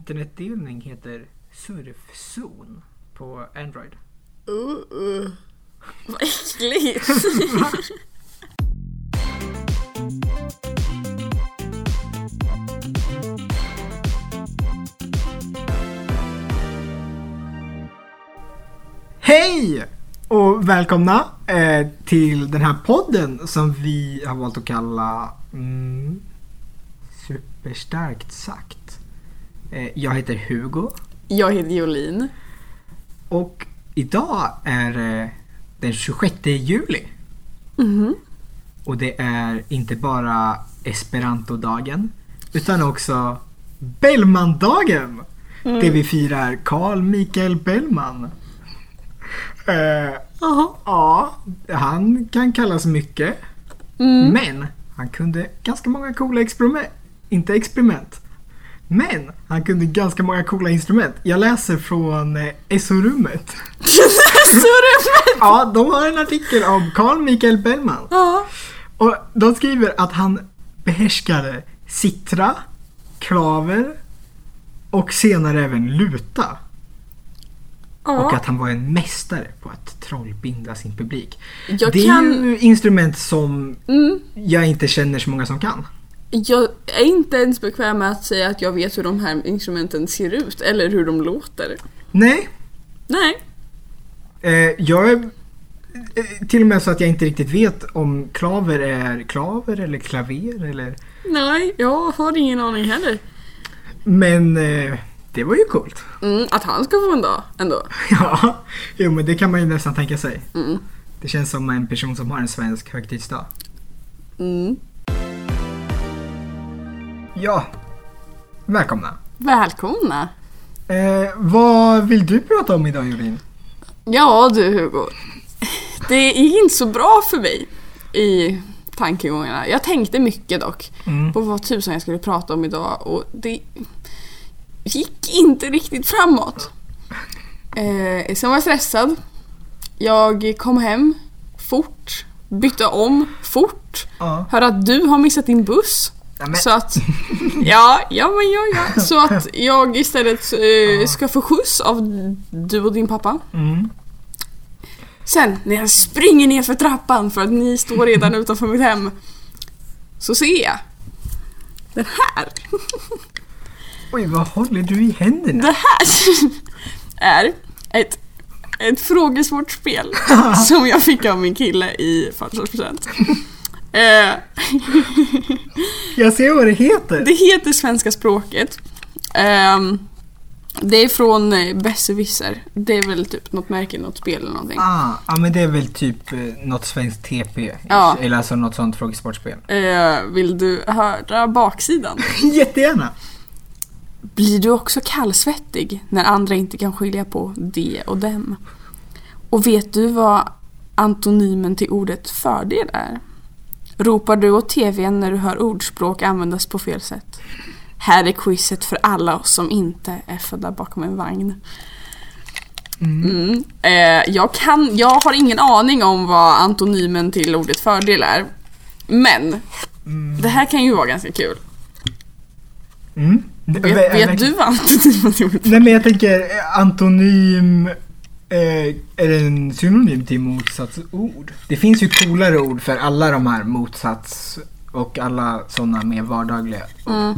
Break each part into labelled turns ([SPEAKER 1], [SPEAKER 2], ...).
[SPEAKER 1] internetdelning heter surfzon på Android.
[SPEAKER 2] Uh, uh. Vad äckligt!
[SPEAKER 1] Hej och välkomna eh, till den här podden som vi har valt att kalla mm, Superstarkt sagt. Eh, jag heter Hugo
[SPEAKER 2] Jag heter Jolin.
[SPEAKER 1] och idag är eh, den 26 juli
[SPEAKER 2] Mhm.
[SPEAKER 1] och det är inte bara esperantodagen utan också Bellmandagen!
[SPEAKER 2] Mm.
[SPEAKER 1] Där vi firar Carl Michael Bellman. Eh,
[SPEAKER 2] Jaha.
[SPEAKER 1] Ja, han kan kallas mycket.
[SPEAKER 2] Mm.
[SPEAKER 1] Men han kunde ganska många coola experiment. Inte experiment. Men han kunde ganska många coola instrument. Jag läser från eh, SO-rummet.
[SPEAKER 2] Surrummet!
[SPEAKER 1] Ja, de har en artikel om Carl Michael Bellman.
[SPEAKER 2] Ja.
[SPEAKER 1] Och de skriver att han behärskade citra, klaver och senare även luta. Och
[SPEAKER 2] Ja.
[SPEAKER 1] att han var en mästare på att trollbinda sin publik.
[SPEAKER 2] Jag
[SPEAKER 1] det är
[SPEAKER 2] kan-
[SPEAKER 1] ju instrument som
[SPEAKER 2] Mm.
[SPEAKER 1] jag inte känner så många som kan.
[SPEAKER 2] Jag är inte ens bekväm med att säga att jag vet hur de här instrumenten ser ut eller hur de låter.
[SPEAKER 1] Nej,
[SPEAKER 2] Nej.
[SPEAKER 1] eh, jag är eh, till och med så att jag inte riktigt vet om klaver är klaver eller klaver eller...
[SPEAKER 2] Nej, jag har ingen aning heller.
[SPEAKER 1] Men eh, det var ju coolt.
[SPEAKER 2] Mm, att han ska få en dag ändå.
[SPEAKER 1] Ja, jo men det kan man ju nästan tänka sig.
[SPEAKER 2] Mm.
[SPEAKER 1] Det känns som en person som har en svensk högtidsdag.
[SPEAKER 2] Mm.
[SPEAKER 1] Ja, välkomna.
[SPEAKER 2] Välkomna!
[SPEAKER 1] Eh, vad vill du prata om idag Jolin?
[SPEAKER 2] Ja du Hugo, det gick inte så bra för mig i tankegångarna. Jag tänkte mycket dock
[SPEAKER 1] Mm.
[SPEAKER 2] på vad tusan jag skulle prata om idag och det gick inte riktigt framåt. Eh, sen var jag stressad. Jag kom hem fort, bytte om fort.
[SPEAKER 1] Ja.
[SPEAKER 2] Hör att du har missat din buss.
[SPEAKER 1] Ja, men-
[SPEAKER 2] Så att, ja, ja men ja, ja. Så att jag istället eh, ska få skjuts av du och din pappa.
[SPEAKER 1] Mm.
[SPEAKER 2] Sen när jag springer ner för trappan för att ni står redan utanför mitt hem så ser jag den här.
[SPEAKER 1] Oj, vad håller du i händerna?
[SPEAKER 2] Det här är ett, ett frågesportspel som jag fick av min kille i födelsedagspresent. Eh,
[SPEAKER 1] Jag ser vad det heter.
[SPEAKER 2] Det heter Svenska språket. Ehm, Det är från eh, Besserwisser. Det är väl typ något märke, något spel eller någonting.
[SPEAKER 1] Ah, ja men det är väl typ eh, något svenskt TP.
[SPEAKER 2] Ja.
[SPEAKER 1] Eller alltså något sånt frågesportspel.
[SPEAKER 2] Eh, Vill du höra baksidan?
[SPEAKER 1] Jättegärna!
[SPEAKER 2] Blir du också kallsvettig när andra inte kan skilja på de och dem? Och vet du vad antonymen till ordet fördel är? Ropar du åt TVn när du hör ordspråk användas på fel sätt? Här är quizet för alla oss som inte är födda bakom en vagn. Mm. Eh, jag, kan, jag har ingen aning om vad antonymen till ordet fördel är. Men det här kan ju vara ganska kul.
[SPEAKER 1] Mm.
[SPEAKER 2] Vet,
[SPEAKER 1] Eller-
[SPEAKER 2] vet du vad antonymen till ordet
[SPEAKER 1] Nej men jag tänker eh, antonym eh, är en synonym till motsatsord. Det finns ju coolare ord för alla de här motsats och alla sådana mer vardagliga.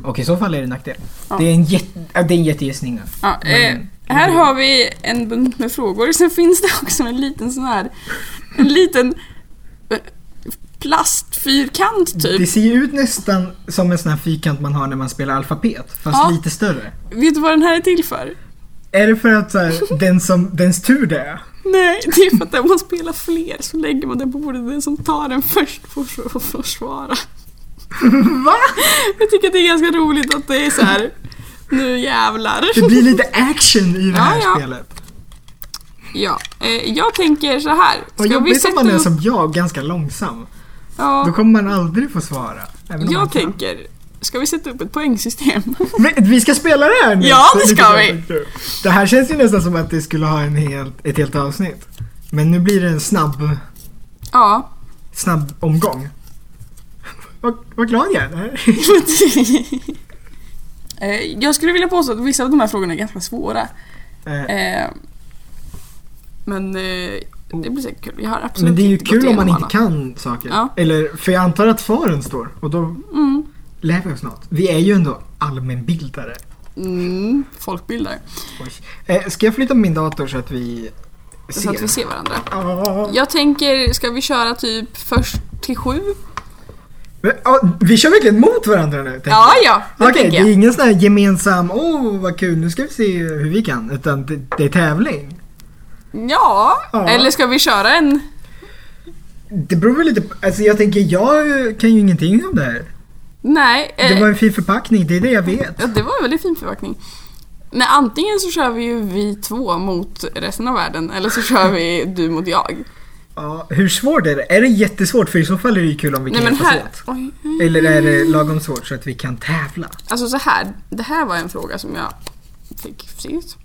[SPEAKER 1] Och i så fall är det en nackdel.
[SPEAKER 2] Mm. Ja.
[SPEAKER 1] Det är en, jätte, äh, det är en jättegissning. nu.
[SPEAKER 2] Ja, eh,
[SPEAKER 1] Men-
[SPEAKER 2] här har vi en bunt med frågor. Sen finns det också en liten sån här... En liten eh, plastfyrkant
[SPEAKER 1] Det
[SPEAKER 2] typ.
[SPEAKER 1] ser ju ut nästan som en sån här fyrkant man har när man spelar alfabet, fast
[SPEAKER 2] Ja.
[SPEAKER 1] lite större.
[SPEAKER 2] Vet du vad den här är till för?
[SPEAKER 1] Är det för att så här, den som, dens tur det är?
[SPEAKER 2] Nej, det är för att om man spelar fler så lägger man den på bordet. Den som tar den först får för- får svara.
[SPEAKER 1] Va?
[SPEAKER 2] Jag tycker att det är ganska roligt att det är så här. Nu jävlar.
[SPEAKER 1] Det blir lite action i det här
[SPEAKER 2] Ja, ja.
[SPEAKER 1] spelet.
[SPEAKER 2] Ja, eh, jag tänker så här.
[SPEAKER 1] Vad jobbigt om man är som jag, ganska långsam.
[SPEAKER 2] ja, typ.
[SPEAKER 1] Då kommer man aldrig få svara. även om man
[SPEAKER 2] jag
[SPEAKER 1] kan.
[SPEAKER 2] tänker, ska vi sätta upp ett poängsystem?
[SPEAKER 1] Men Vi ska spela det här nu!
[SPEAKER 2] Ja, det
[SPEAKER 1] Lite
[SPEAKER 2] ska
[SPEAKER 1] grann.
[SPEAKER 2] vi.
[SPEAKER 1] Det här känns ju nästan som att det skulle ha en helt, ett helt avsnitt. Men nu blir det en snabb,
[SPEAKER 2] Ja,
[SPEAKER 1] snabb omgång. Vad, vad glad jag är! Det här-
[SPEAKER 2] Eh, Jag skulle vilja påstå att vissa av de här frågorna är ganska svåra.
[SPEAKER 1] Eh,
[SPEAKER 2] Eh, Men eh, det blir säkert kul. Jag har absolut
[SPEAKER 1] Men det är ju
[SPEAKER 2] inte gått
[SPEAKER 1] kul om
[SPEAKER 2] igenom
[SPEAKER 1] man inte
[SPEAKER 2] alla.
[SPEAKER 1] kan saker.
[SPEAKER 2] Ja.
[SPEAKER 1] Eller, för jag antar att svaren står och då
[SPEAKER 2] Mm.
[SPEAKER 1] lär vi oss något. Vi är ju ändå allmänbildare.
[SPEAKER 2] Mm, folkbildare.
[SPEAKER 1] Oj. Eh, ska jag flytta min dator så att vi ser?
[SPEAKER 2] Så att vi ser varandra.
[SPEAKER 1] Ja.
[SPEAKER 2] Jag tänker, ska vi köra typ först till sju?
[SPEAKER 1] Men, ja, vi kör verkligen mot varandra nu. tänker jag.
[SPEAKER 2] Ja, ja, det
[SPEAKER 1] Okej, det
[SPEAKER 2] tänker
[SPEAKER 1] är
[SPEAKER 2] jag.
[SPEAKER 1] ingen sån här gemensam, åh oh, vad kul, nu ska vi se hur vi kan. Utan det, det är tävling.
[SPEAKER 2] Ja.
[SPEAKER 1] Ja.
[SPEAKER 2] eller ska vi köra en?
[SPEAKER 1] Det beror väl lite på, alltså jag tänker jag kan ju ingenting om det här.
[SPEAKER 2] Nej, eh,
[SPEAKER 1] Det var en fin förpackning, det är det jag vet.
[SPEAKER 2] ja, det var en väldigt fin förpackning. Nej, antingen så kör vi ju vi två mot resten av världen eller så kör vi du mot jag.
[SPEAKER 1] Ja, hur svårt är det? Är det jättesvårt? För i så fall är det ju kul om vi
[SPEAKER 2] Nej
[SPEAKER 1] kan
[SPEAKER 2] men
[SPEAKER 1] hjälpas
[SPEAKER 2] här...
[SPEAKER 1] åt.
[SPEAKER 2] Oj.
[SPEAKER 1] Eller är det lagom svårt så att vi kan tävla?
[SPEAKER 2] Alltså så här, det här var en fråga som jag fick precis.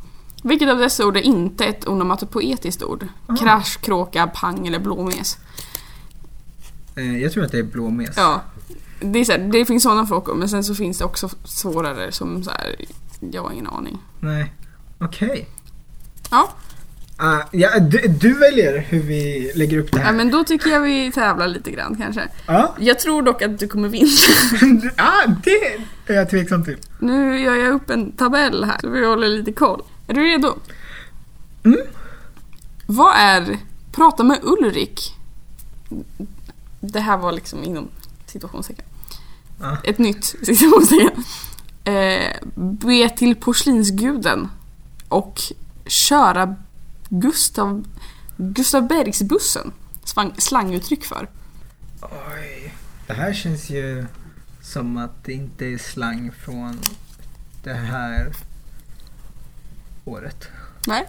[SPEAKER 2] Vilket av dessa ord är inte ett onomatopoetiskt ord? Krasch, kråka, pang eller blåmes?
[SPEAKER 1] Eh, jag tror att det är blåmes.
[SPEAKER 2] Ja, det, är så här, det finns sådana frågor men sen så finns det också svårare som så här, jag har ingen aning.
[SPEAKER 1] Nej, okej.
[SPEAKER 2] Ja,
[SPEAKER 1] Ah, ja, du, du väljer hur vi lägger upp det
[SPEAKER 2] ja
[SPEAKER 1] här.
[SPEAKER 2] men då tycker jag vi tävlar lite grann kanske.
[SPEAKER 1] Ja,
[SPEAKER 2] Jag tror dock att du kommer vinna.
[SPEAKER 1] ah, det är jag tveksam till.
[SPEAKER 2] Nu gör jag upp en tabell här så vi håller lite koll. Är du redo?
[SPEAKER 1] Mm.
[SPEAKER 2] Vad är Prata med Ulrik? Det här var liksom inom situationstecken.
[SPEAKER 1] Ja.
[SPEAKER 2] Ett nytt situationstecken. Eh, be till porslinsguden och köra Gustav, Gustav Bergsbussen. Svang, slanguttryck för.
[SPEAKER 1] Oj, det här känns ju som att det inte är slang från det här året.
[SPEAKER 2] Nej.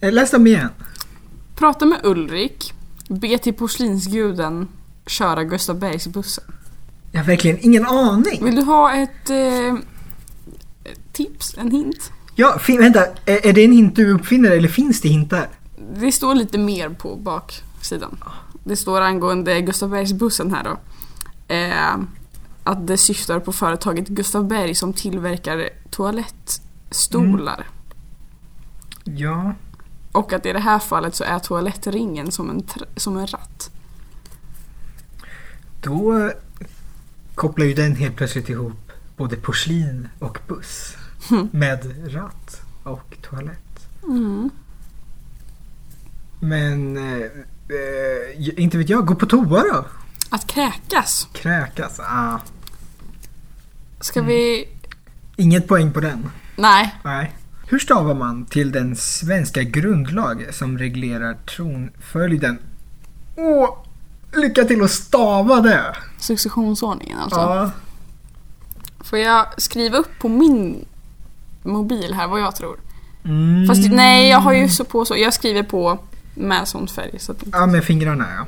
[SPEAKER 1] Eh, Läs dem igen.
[SPEAKER 2] Prata med Ulrik, be till porslinsguden, köra Gustav Bergsbussen.
[SPEAKER 1] Jag har verkligen ingen aning.
[SPEAKER 2] Vill du ha ett eh, ett tips, en hint?
[SPEAKER 1] Ja, fin- vänta, är, är det en hint du uppfinner eller finns det hintar?
[SPEAKER 2] Det står lite mer på baksidan. Det står angående Gustav Bergsbussen här då. Eh, att det syftar på företaget Gustav Berg som tillverkar toalettstolar.
[SPEAKER 1] Ja.
[SPEAKER 2] Och att i det här fallet så är toalettringen som en, tr- som en ratt.
[SPEAKER 1] Då kopplar ju den helt plötsligt ihop både porslin och buss med ratt och toalett.
[SPEAKER 2] Mm.
[SPEAKER 1] Men, eh, eh, inte vet jag, gå på toa då.
[SPEAKER 2] Att kräkas.
[SPEAKER 1] Kräkas, ah.
[SPEAKER 2] Ska vi...
[SPEAKER 1] Inget poäng på den.
[SPEAKER 2] Nej.
[SPEAKER 1] Nej. Hur stavar man till den svenska grundlag som reglerar tronföljden? Åh, lycka till att stava det!
[SPEAKER 2] Successionsordningen alltså.
[SPEAKER 1] Ja.
[SPEAKER 2] Får jag skriva upp på min mobil här vad jag tror?
[SPEAKER 1] Mm.
[SPEAKER 2] Fast nej, jag har ju så på så. Jag skriver på med sån färg. Så att,
[SPEAKER 1] Ja, med fingrarna ja.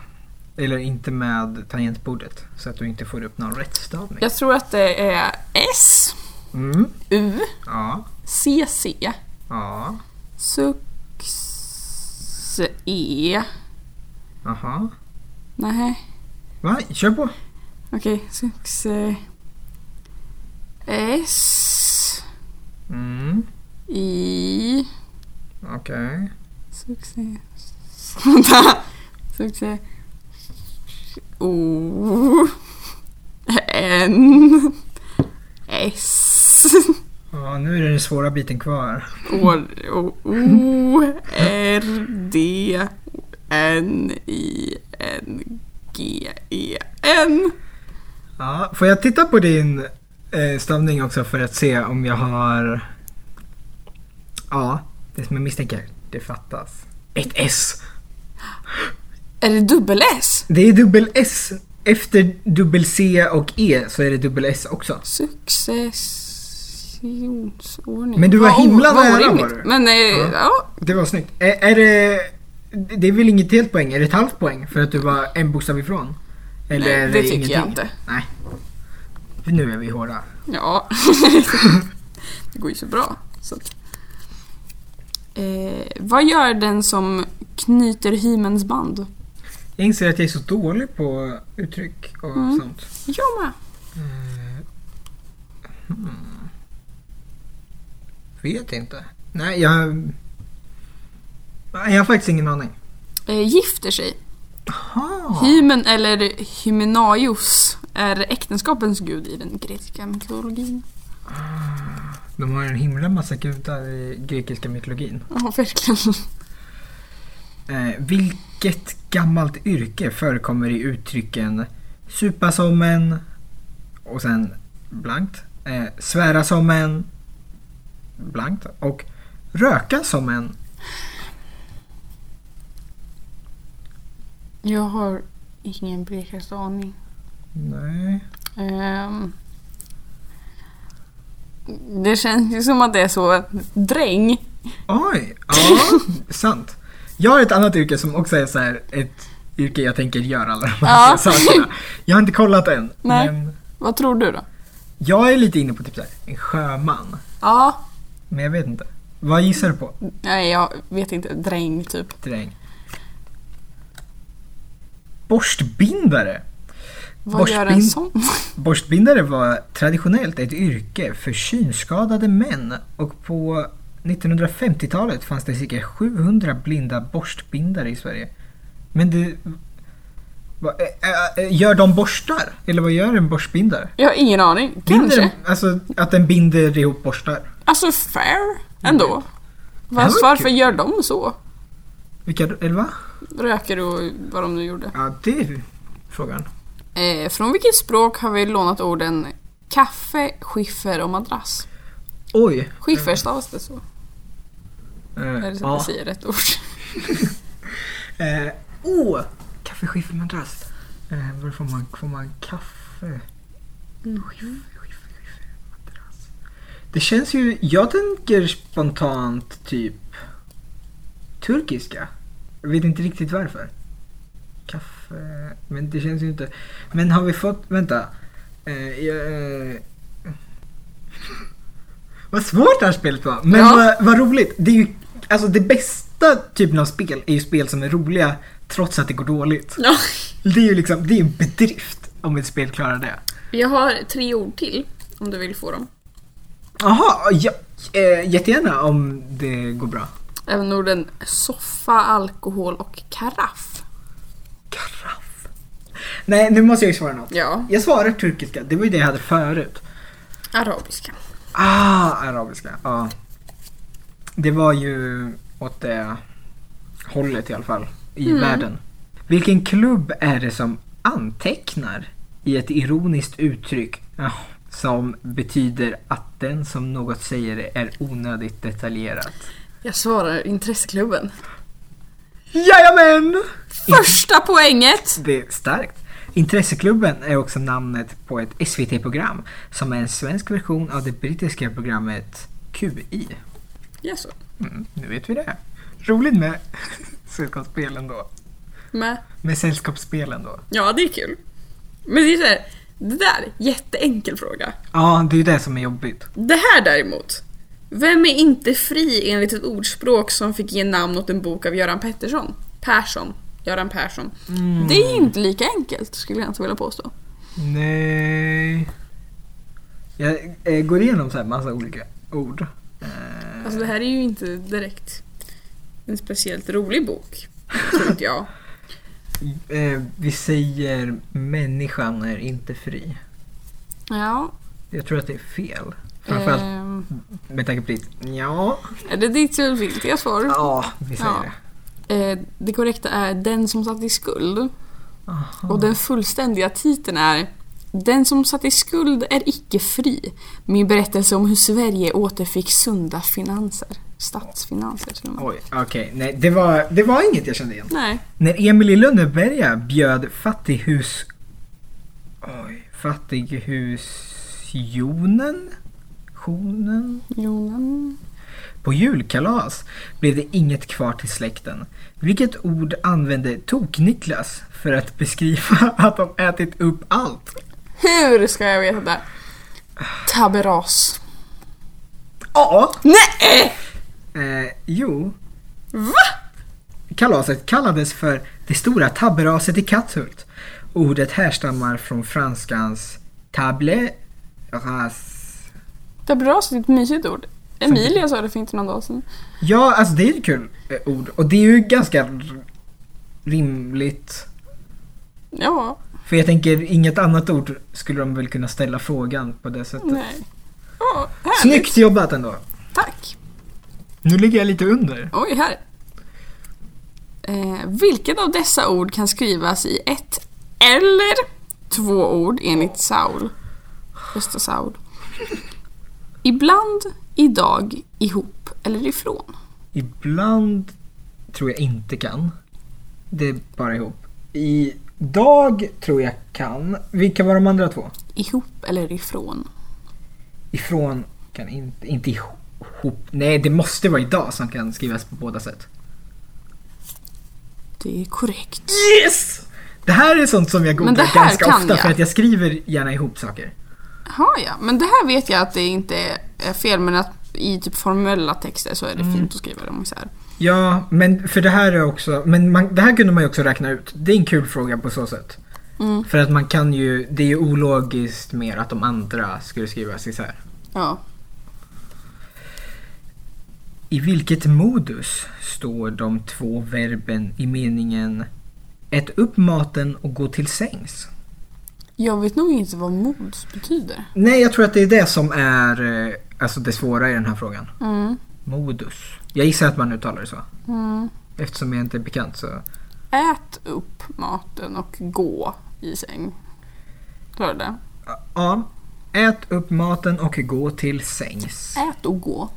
[SPEAKER 1] Eller inte med tangentbordet så att du inte får upp någon rättstavning.
[SPEAKER 2] jag tror att det är S,
[SPEAKER 1] Mm.
[SPEAKER 2] U,
[SPEAKER 1] Ja,
[SPEAKER 2] C, C,
[SPEAKER 1] ja,
[SPEAKER 2] Sux, E.
[SPEAKER 1] aha.
[SPEAKER 2] Nej,
[SPEAKER 1] Va? Kör på.
[SPEAKER 2] okej. Sux, eh, S,
[SPEAKER 1] Mm.
[SPEAKER 2] I,
[SPEAKER 1] Okej.
[SPEAKER 2] Sux, E. Vänta. Sux, E. O, N, S.
[SPEAKER 1] Ja, nu är det den svåra biten kvar.
[SPEAKER 2] O, o, o R D N I N G E N
[SPEAKER 1] Ja, får jag titta på din eh, stavning också för att se om jag har... Ja, det som jag misstänker, det fattas. Ett S.
[SPEAKER 2] Är det dubbel S?
[SPEAKER 1] Det är dubbel S. Efter dubbel C och E så är det dubbel S också.
[SPEAKER 2] Successionsordning.
[SPEAKER 1] Men du var
[SPEAKER 2] Vad o-
[SPEAKER 1] himla
[SPEAKER 2] vad
[SPEAKER 1] nära
[SPEAKER 2] orimligt.
[SPEAKER 1] var du.
[SPEAKER 2] Men eh,
[SPEAKER 1] Ja.
[SPEAKER 2] ja,
[SPEAKER 1] Det var snyggt. Ä- är det... Det är väl inget helt poäng? Är det ett halvt poäng för att du var en bokstav ifrån? Eller
[SPEAKER 2] nej,
[SPEAKER 1] är
[SPEAKER 2] det tycker
[SPEAKER 1] ingenting?
[SPEAKER 2] jag inte.
[SPEAKER 1] Nej. Nu är vi hårda.
[SPEAKER 2] Ja. det går ju så bra. Så att. Eh, vad gör den som knyter hymens band?
[SPEAKER 1] Jag inser att jag är så dålig på uttryck och
[SPEAKER 2] Mm.
[SPEAKER 1] sånt.
[SPEAKER 2] Jag med.
[SPEAKER 1] hmm. Vet inte. Nej, jag... Nej, Jag har faktiskt ingen aning.
[SPEAKER 2] Eh, gifter sig.
[SPEAKER 1] Aha.
[SPEAKER 2] Hymen eller hymenaios är äktenskapens gud i den grekiska mytologin.
[SPEAKER 1] De har en himla massa gudar i grekiska mytologin.
[SPEAKER 2] Ja, verkligen.
[SPEAKER 1] Eh, vilket gammalt yrke förekommer i uttrycken supa som en och sen blankt, eh, svära som en blankt och röka som en.
[SPEAKER 2] Jag har ingen blekaste aning.
[SPEAKER 1] Nej.
[SPEAKER 2] Ehm, det känns ju som att det är så dräng.
[SPEAKER 1] Oj, ja, sant. Jag har ett annat yrke som också är så här ett yrke jag tänker göra alla de här
[SPEAKER 2] Ja.
[SPEAKER 1] sakerna. Jag har inte kollat än.
[SPEAKER 2] Nej.
[SPEAKER 1] Men
[SPEAKER 2] Vad tror du då?
[SPEAKER 1] jag är lite inne på typ så här, en sjöman.
[SPEAKER 2] Ja,
[SPEAKER 1] Men jag vet inte. Vad gissar du på?
[SPEAKER 2] nej jag vet inte. Dräng typ.
[SPEAKER 1] Dräng. Borstbindare.
[SPEAKER 2] Vad gör en
[SPEAKER 1] Borstbind-
[SPEAKER 2] sån?
[SPEAKER 1] Borstbindare var traditionellt ett yrke för synskadade män och på 1950-talet fanns det cirka 700 blinda borstbindare i Sverige. Men det... Va, ä, ä, gör de borstar? Eller vad gör en borstbindare?
[SPEAKER 2] Jag har ingen aning.
[SPEAKER 1] Binder
[SPEAKER 2] Kanske.
[SPEAKER 1] den, alltså att den binder ihop borstar.
[SPEAKER 2] Alltså fair ändå.
[SPEAKER 1] var
[SPEAKER 2] Fast varför
[SPEAKER 1] kul.
[SPEAKER 2] gör de så?
[SPEAKER 1] Vilka, eller va?
[SPEAKER 2] Röker och vad de nu gjorde.
[SPEAKER 1] Ja, det är frågan.
[SPEAKER 2] Eh, från vilket språk har vi lånat orden kaffe, skiffer och madrass?
[SPEAKER 1] Oj!
[SPEAKER 2] Skiffer stavas det så?
[SPEAKER 1] Eh,
[SPEAKER 2] Eller så att
[SPEAKER 1] ja.
[SPEAKER 2] jag säger rätt ord.
[SPEAKER 1] Eh, oh! Kaffe, skiffer, madrass. Eh, var får man, får man kaffe? Skiffer, skiffer, skiffer, madrass. Det känns ju, jag tänker spontant typ turkiska. Jag vet inte riktigt varför. Kaffe, men det känns ju inte. Men har vi fått, vänta. Eh, jag, eh, vad svårt det här spelet var. Men
[SPEAKER 2] Ja.
[SPEAKER 1] Äh, vad, vad roligt. Det är ju, alltså det bästa typen av spel är ju spel som är roliga trots att det går dåligt.
[SPEAKER 2] Ja.
[SPEAKER 1] Det är ju liksom, det är en bedrift om ett spel klarar det.
[SPEAKER 2] Jag har tre ord till om du vill få dem.
[SPEAKER 1] Jaha, ja, eh, jättegärna om det går bra.
[SPEAKER 2] Även orden soffa, alkohol och karaff.
[SPEAKER 1] Karaff. Nej, nu måste jag ju svara något.
[SPEAKER 2] Ja,
[SPEAKER 1] Jag svarar turkiska, det var ju det jag hade förut.
[SPEAKER 2] arabiska.
[SPEAKER 1] Ah, arabiska. Ja. Det var ju åt det hållet i alla fall, i världen. Vilken klubb är det som antecknar i ett ironiskt uttryck ah, som betyder att den som något säger är onödigt detaljerat?
[SPEAKER 2] Jag svarar intresseklubben.
[SPEAKER 1] Jajamän!
[SPEAKER 2] Första poänget!
[SPEAKER 1] Det är starkt. Intresseklubben är också namnet på ett SVT-program som är en svensk version av det brittiska programmet QI.
[SPEAKER 2] Jaså?
[SPEAKER 1] Mm, nu vet vi det. Roligt med sällskapsspelen då.
[SPEAKER 2] Med?
[SPEAKER 1] Med sällskapsspelen då.
[SPEAKER 2] Ja, det är kul. Men det är så här, det där, jätteenkel fråga.
[SPEAKER 1] Ja, det är ju det som är jobbigt.
[SPEAKER 2] Det här däremot. Vem är inte fri enligt ett ordspråk som fick ge namn åt en bok av Göran Pettersson? Persson. Göran Persson.
[SPEAKER 1] Mm.
[SPEAKER 2] Det är ju inte lika enkelt skulle jag inte vilja påstå.
[SPEAKER 1] Nej. Jag eh, går igenom så här massa olika ord. Eh,
[SPEAKER 2] Alltså det här är ju inte direkt en speciellt rolig bok. Tror inte jag.
[SPEAKER 1] Eh, vi säger människan är inte fri.
[SPEAKER 2] Ja.
[SPEAKER 1] Jag tror att det är fel. Framförallt
[SPEAKER 2] ehm,
[SPEAKER 1] med tanke på ditt ja.
[SPEAKER 2] är det ditt slutgiltiga svar?
[SPEAKER 1] Ja, vi säger
[SPEAKER 2] Ja.
[SPEAKER 1] det.
[SPEAKER 2] Eh, det korrekta är Den som satt i skuld.
[SPEAKER 1] Aha.
[SPEAKER 2] Och den fullständiga titeln är Den som satt i skuld är icke fri. Min berättelse om hur Sverige återfick sunda finanser. Statsfinanser till och med.
[SPEAKER 1] Oj, okej. Nej, det var, det var inget jag kände igen.
[SPEAKER 2] Nej.
[SPEAKER 1] När Emil i Lönneberga bjöd fattighus... Oj, fattighusjonen? Jonen?
[SPEAKER 2] Jonen.
[SPEAKER 1] På julkalas blev det inget kvar till släkten. Vilket ord använde Tok-Niklas för att beskriva att de ätit upp allt?
[SPEAKER 2] Hur ska jag veta det? Taberas.
[SPEAKER 1] Ja!
[SPEAKER 2] Nej!
[SPEAKER 1] Eh, jo,
[SPEAKER 2] Va?
[SPEAKER 1] Kalaset kallades för det stora tabberaset i Katthult. Ordet härstammar från franskans table ras
[SPEAKER 2] Tabras är ett mysigt ord. Emilia sa det för inte någon dag sedan.
[SPEAKER 1] Ja, alltså det är ju ett kul eh, ord. Och det är ju ganska r- rimligt.
[SPEAKER 2] Ja,
[SPEAKER 1] För jag tänker, inget annat ord skulle de väl kunna ställa frågan på det sättet.
[SPEAKER 2] nej. Ja, härligt.
[SPEAKER 1] Snyggt jobbat ändå!
[SPEAKER 2] Tack.
[SPEAKER 1] Nu ligger jag lite under.
[SPEAKER 2] Oj, här. Eh, vilket av dessa ord kan skrivas i ett eller två ord enligt Saul? Gösta Saul. Ibland, idag, ihop eller ifrån.
[SPEAKER 1] Ibland tror jag inte kan. Det är bara ihop. Idag tror jag kan. Vilka var de andra två?
[SPEAKER 2] Ihop eller ifrån.
[SPEAKER 1] Ifrån kan inte, inte ihop. Nej, det måste vara idag som kan skrivas på båda sätt.
[SPEAKER 2] Det är korrekt.
[SPEAKER 1] Yes! Det här är sånt som jag
[SPEAKER 2] Men det
[SPEAKER 1] googlar
[SPEAKER 2] här
[SPEAKER 1] ganska
[SPEAKER 2] kan
[SPEAKER 1] ofta
[SPEAKER 2] jag.
[SPEAKER 1] för att jag skriver gärna ihop saker.
[SPEAKER 2] Har ja. Men det här vet jag att det inte är fel men att i typ formella texter så är det fint att skriva dem isär.
[SPEAKER 1] Ja, men för det här är också, men man, det här kunde man ju också räkna ut. Det är en kul fråga på så sätt.
[SPEAKER 2] Mm.
[SPEAKER 1] För att man kan ju, det är ju ologiskt mer att de andra skulle skrivas isär.
[SPEAKER 2] Ja.
[SPEAKER 1] I vilket modus står de två verben i meningen ät upp maten och gå till sängs?
[SPEAKER 2] Jag vet nog inte vad mods betyder.
[SPEAKER 1] Nej, jag tror att det är det som är eh, alltså det svåra i den här frågan.
[SPEAKER 2] Mm.
[SPEAKER 1] Modus. Jag gissar att man uttalar det så.
[SPEAKER 2] Mm.
[SPEAKER 1] Eftersom jag inte är bekant så.
[SPEAKER 2] Ät upp maten och gå i säng. Sa du det?
[SPEAKER 1] Ja. Ät upp maten och gå till sängs.
[SPEAKER 2] Ät och gå.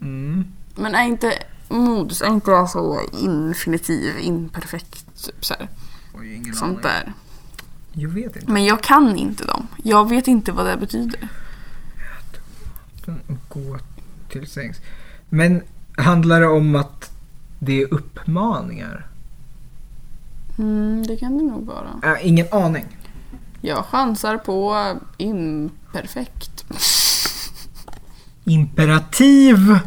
[SPEAKER 1] Mm.
[SPEAKER 2] Men är inte modus, är inte så infinitiv, imperfekt, typ så här,
[SPEAKER 1] Oj, ingen
[SPEAKER 2] sånt
[SPEAKER 1] aning.
[SPEAKER 2] där.
[SPEAKER 1] Jag vet inte.
[SPEAKER 2] Men jag kan inte dem. Jag vet inte vad det betyder.
[SPEAKER 1] Gå till sängs. Men handlar det om att det är uppmaningar?
[SPEAKER 2] Mm, det kan det nog vara.
[SPEAKER 1] Äh, ingen aning.
[SPEAKER 2] Jag chansar på imperfekt.
[SPEAKER 1] Imperativ.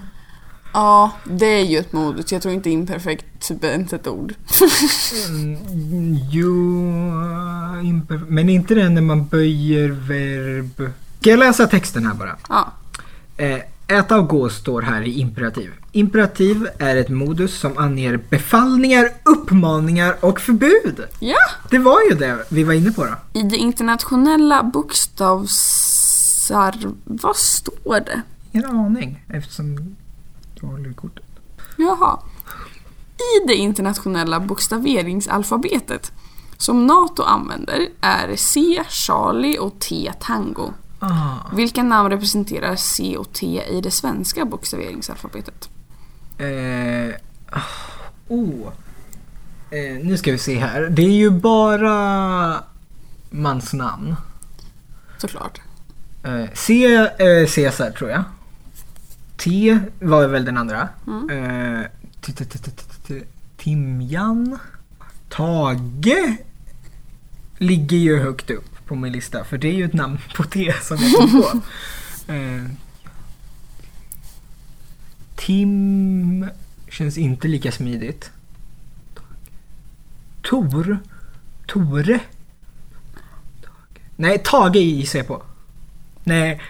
[SPEAKER 2] Ja, det är ju ett modus. Jag tror inte imperfekt typ är inte ett ord.
[SPEAKER 1] Mm, jo, imper- men inte den när man böjer verb. Ska jag läsa texten här bara?
[SPEAKER 2] Ja.
[SPEAKER 1] Eh, Äta och gå står här i imperativ. Imperativ är ett modus som anger befallningar, uppmaningar och förbud.
[SPEAKER 2] Ja!
[SPEAKER 1] Det var ju det vi var inne på då.
[SPEAKER 2] I det internationella bokstavsar... Vad står det?
[SPEAKER 1] Ingen aning eftersom jag håller i kortet.
[SPEAKER 2] Jaha. I det internationella bokstaveringsalfabetet som NATO använder är C Charlie och T Tango.
[SPEAKER 1] Ah,
[SPEAKER 2] Vilka namn representerar C och T i det svenska bokstaveringsalfabetet?
[SPEAKER 1] eh, oh. eh, nu ska vi se här. Det är ju bara mansnamn.
[SPEAKER 2] Såklart.
[SPEAKER 1] Eh, C, eh, Cesar tror jag. T var väl den andra. Eh, t- t- t- t- t- t- Timjan. Tage ligger ju högt upp på min lista för det är ju ett namn på T som jag kom på. Eh, Tim känns inte lika smidigt. Tor. Tore. Nej, Tage gissar jag på. Nej.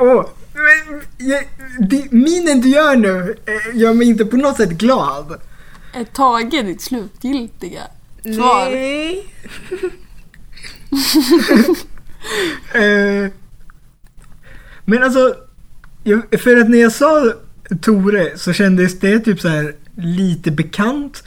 [SPEAKER 1] Åh, men, jag, det, minen du gör nu eh, gör mig inte på något sätt glad.
[SPEAKER 2] Är Tage ditt slutgiltiga svar?
[SPEAKER 1] Nej. eh, men alltså, jag, för att när jag sa Tore så kändes det typ så här lite bekant.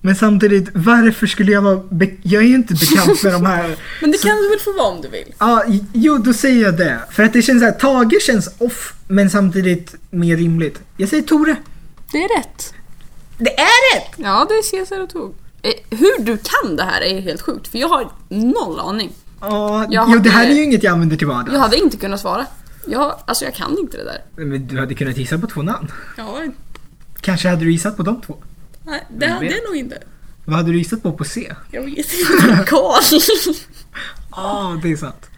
[SPEAKER 1] Men samtidigt, varför skulle jag vara... Be- jag är ju inte bekant med de här...
[SPEAKER 2] Men det kan du väl få vara om du vill?
[SPEAKER 1] Ja, j- jo då säger jag det. För att det känns så här, Tage känns off men samtidigt mer rimligt. Jag säger Tore.
[SPEAKER 2] Det är rätt.
[SPEAKER 1] Det är rätt!
[SPEAKER 2] Ja, det är Cesar och Tog. Hur du kan det här är helt sjukt, för jag har noll aning.
[SPEAKER 1] Ja,
[SPEAKER 2] Jag
[SPEAKER 1] jo det här
[SPEAKER 2] hade-
[SPEAKER 1] är ju inget jag använder till
[SPEAKER 2] Jag
[SPEAKER 1] vardags.
[SPEAKER 2] hade inte kunnat svara. Jag, alltså jag kan inte det där.
[SPEAKER 1] Men du hade kunnat gissa på två namn.
[SPEAKER 2] Ja,
[SPEAKER 1] Kanske hade du gissat på de två.
[SPEAKER 2] nej, det
[SPEAKER 1] Vem
[SPEAKER 2] hade
[SPEAKER 1] vet?
[SPEAKER 2] jag nog inte.
[SPEAKER 1] Vad hade du gissat på på C?
[SPEAKER 2] Jag vet inte. Karl.
[SPEAKER 1] Ja, det är sant.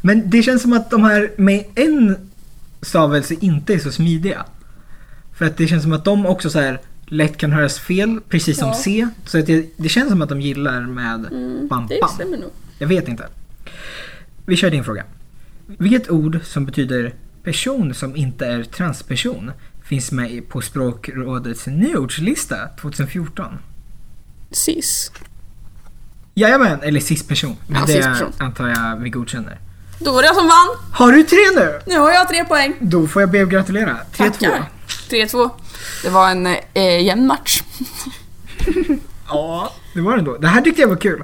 [SPEAKER 1] Men det känns som att de här med en stavelse inte är så smidiga. För att det känns som att de också så här lätt kan höras fel, precis som
[SPEAKER 2] Ja.
[SPEAKER 1] C. Så att det, det känns som att de gillar med bam,
[SPEAKER 2] Mm, Det
[SPEAKER 1] bam.
[SPEAKER 2] stämmer nog.
[SPEAKER 1] Jag vet inte. Vi kör din fråga. Vilket ord som betyder person som inte är transperson finns med i- på Språkrådets nyordslista 2014?
[SPEAKER 2] Cis.
[SPEAKER 1] Jajamän, eller cis-person. Men
[SPEAKER 2] Ja,
[SPEAKER 1] det
[SPEAKER 2] cis-person.
[SPEAKER 1] antar jag vi godkänner.
[SPEAKER 2] Då var det jag som vann.
[SPEAKER 1] Har du tre nu?
[SPEAKER 2] Nu har jag tre poäng.
[SPEAKER 1] Då får jag be och gratulera. 3-2.
[SPEAKER 2] Tackar. 3-2. Det var en eh, jämn match.
[SPEAKER 1] Ja, det var det då. Det här tyckte jag var kul.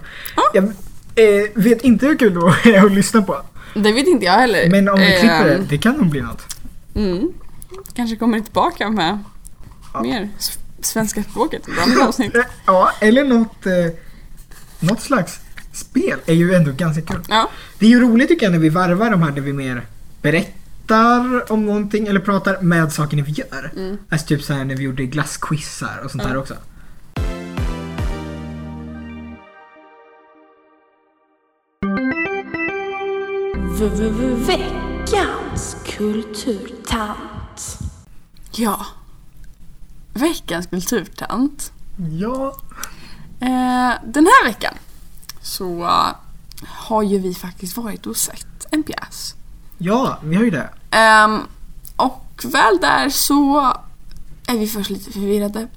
[SPEAKER 1] Jag eh, vet inte hur kul det var att lyssna på.
[SPEAKER 2] Det vet inte jag heller.
[SPEAKER 1] Men om vi
[SPEAKER 2] Eh,
[SPEAKER 1] klipper det, det kan nog bli något.
[SPEAKER 2] Mm. Kanske kommer tillbaka med
[SPEAKER 1] Ja.
[SPEAKER 2] mer s- svenska språket i ett annat avsnitt.
[SPEAKER 1] Eh, Ja, eller något, eh, något slags spel är ju ändå ganska kul.
[SPEAKER 2] Ja.
[SPEAKER 1] Det är ju roligt tycker jag när vi varvar de här när vi mer berättar om någonting eller pratar med saker vi gör. Alltså typ så här när vi gjorde glassquizar och sånt där också.
[SPEAKER 3] Veckans kulturtant.
[SPEAKER 2] ja. Veckans kulturtant.
[SPEAKER 1] Ja.
[SPEAKER 2] Eh, den här veckan så eh, har ju vi faktiskt varit och sett en pjäs.
[SPEAKER 1] Ja, vi har ju det.
[SPEAKER 2] Ehm, och väl där så är vi först lite förvirrade.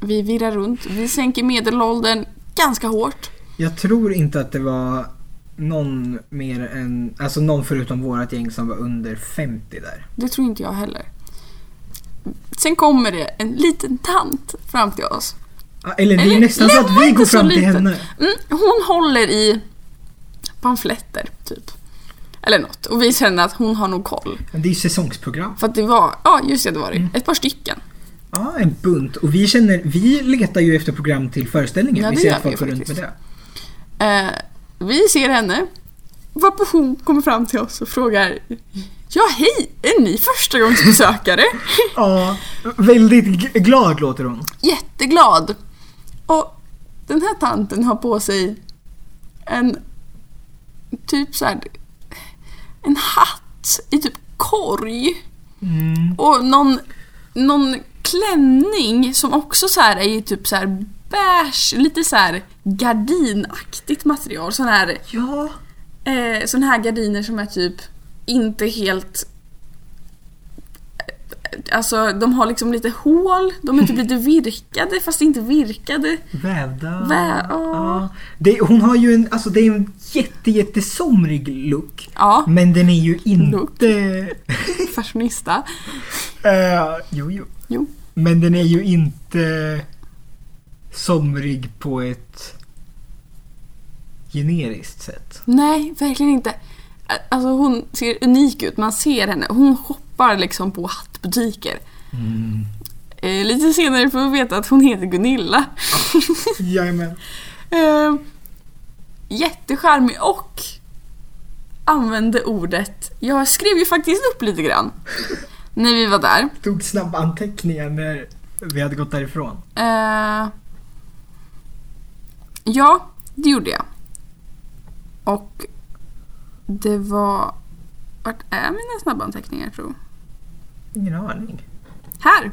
[SPEAKER 2] Vi virrar runt. Vi sänker medelåldern ganska hårt.
[SPEAKER 1] Jag tror inte att det var någon mer än, alltså någon förutom vårat gäng som var under 50 där.
[SPEAKER 2] Det tror inte jag heller. Sen kommer det en liten tant fram till oss.
[SPEAKER 1] Ja, Ah, Eller det är ju
[SPEAKER 2] Eller-
[SPEAKER 1] nästan
[SPEAKER 2] nej,
[SPEAKER 1] så att
[SPEAKER 2] hon var
[SPEAKER 1] vi
[SPEAKER 2] inte
[SPEAKER 1] går
[SPEAKER 2] så
[SPEAKER 1] fram till
[SPEAKER 2] liten.
[SPEAKER 1] henne.
[SPEAKER 2] Mm, hon håller i pamfletter, typ. Eller något. Och vi känner att hon har nog koll.
[SPEAKER 1] Men det är ju säsongsprogram.
[SPEAKER 2] För att det var, ja just det, det var det.
[SPEAKER 1] Mm.
[SPEAKER 2] Ett par stycken.
[SPEAKER 1] Ja, Ah, en bunt. Och vi känner, vi letar ju efter program till föreställningen.
[SPEAKER 2] Ja,
[SPEAKER 1] vi
[SPEAKER 2] det
[SPEAKER 1] ser
[SPEAKER 2] gör
[SPEAKER 1] att
[SPEAKER 2] vi
[SPEAKER 1] folk går runt med
[SPEAKER 2] faktiskt.
[SPEAKER 1] det.
[SPEAKER 2] Eh, vi ser henne. Varpå hon kommer fram till oss och frågar Ja hej, är ni förstagångsbesökare?
[SPEAKER 1] Ja, väldigt g- glad låter hon.
[SPEAKER 2] Jätteglad. Och den här tanten har på sig en typ så här, en hatt i typ korg. Och någon, någon klänning som också så här är ju typ så här beige, lite så här gardinaktigt material. Sån här,
[SPEAKER 1] Ja.
[SPEAKER 2] eh, sån här gardiner som är typ inte helt eh, Alltså de har liksom lite hål, de är typ lite virkade fast inte virkade.
[SPEAKER 1] Vävda.
[SPEAKER 2] Vä- ja.
[SPEAKER 1] ja. det, hon har ju en, alltså det är en jätte, jättesomrig look.
[SPEAKER 2] Ja,
[SPEAKER 1] Men den är ju
[SPEAKER 2] Look.
[SPEAKER 1] inte...
[SPEAKER 2] fashionista.
[SPEAKER 1] Eh, jo, jo.
[SPEAKER 2] Jo.
[SPEAKER 1] Men den är ju inte somrig på ett generiskt sätt.
[SPEAKER 2] Nej, verkligen inte. Ä- Alltså hon ser unik ut, man ser henne. Hon shoppar liksom på hattbutiker. Eh, lite senare får vi veta att hon heter Gunilla.
[SPEAKER 1] Jajamän.
[SPEAKER 2] eh, jättecharmig och använde ordet, jag skrev ju faktiskt upp lite grann när vi var där.
[SPEAKER 1] Tog snabba anteckningar när vi hade gått därifrån.
[SPEAKER 2] Eh, ja, det gjorde jag. Och det var... Vart är mina snabbanteckningar tror?
[SPEAKER 1] Ingen aning.
[SPEAKER 2] Här!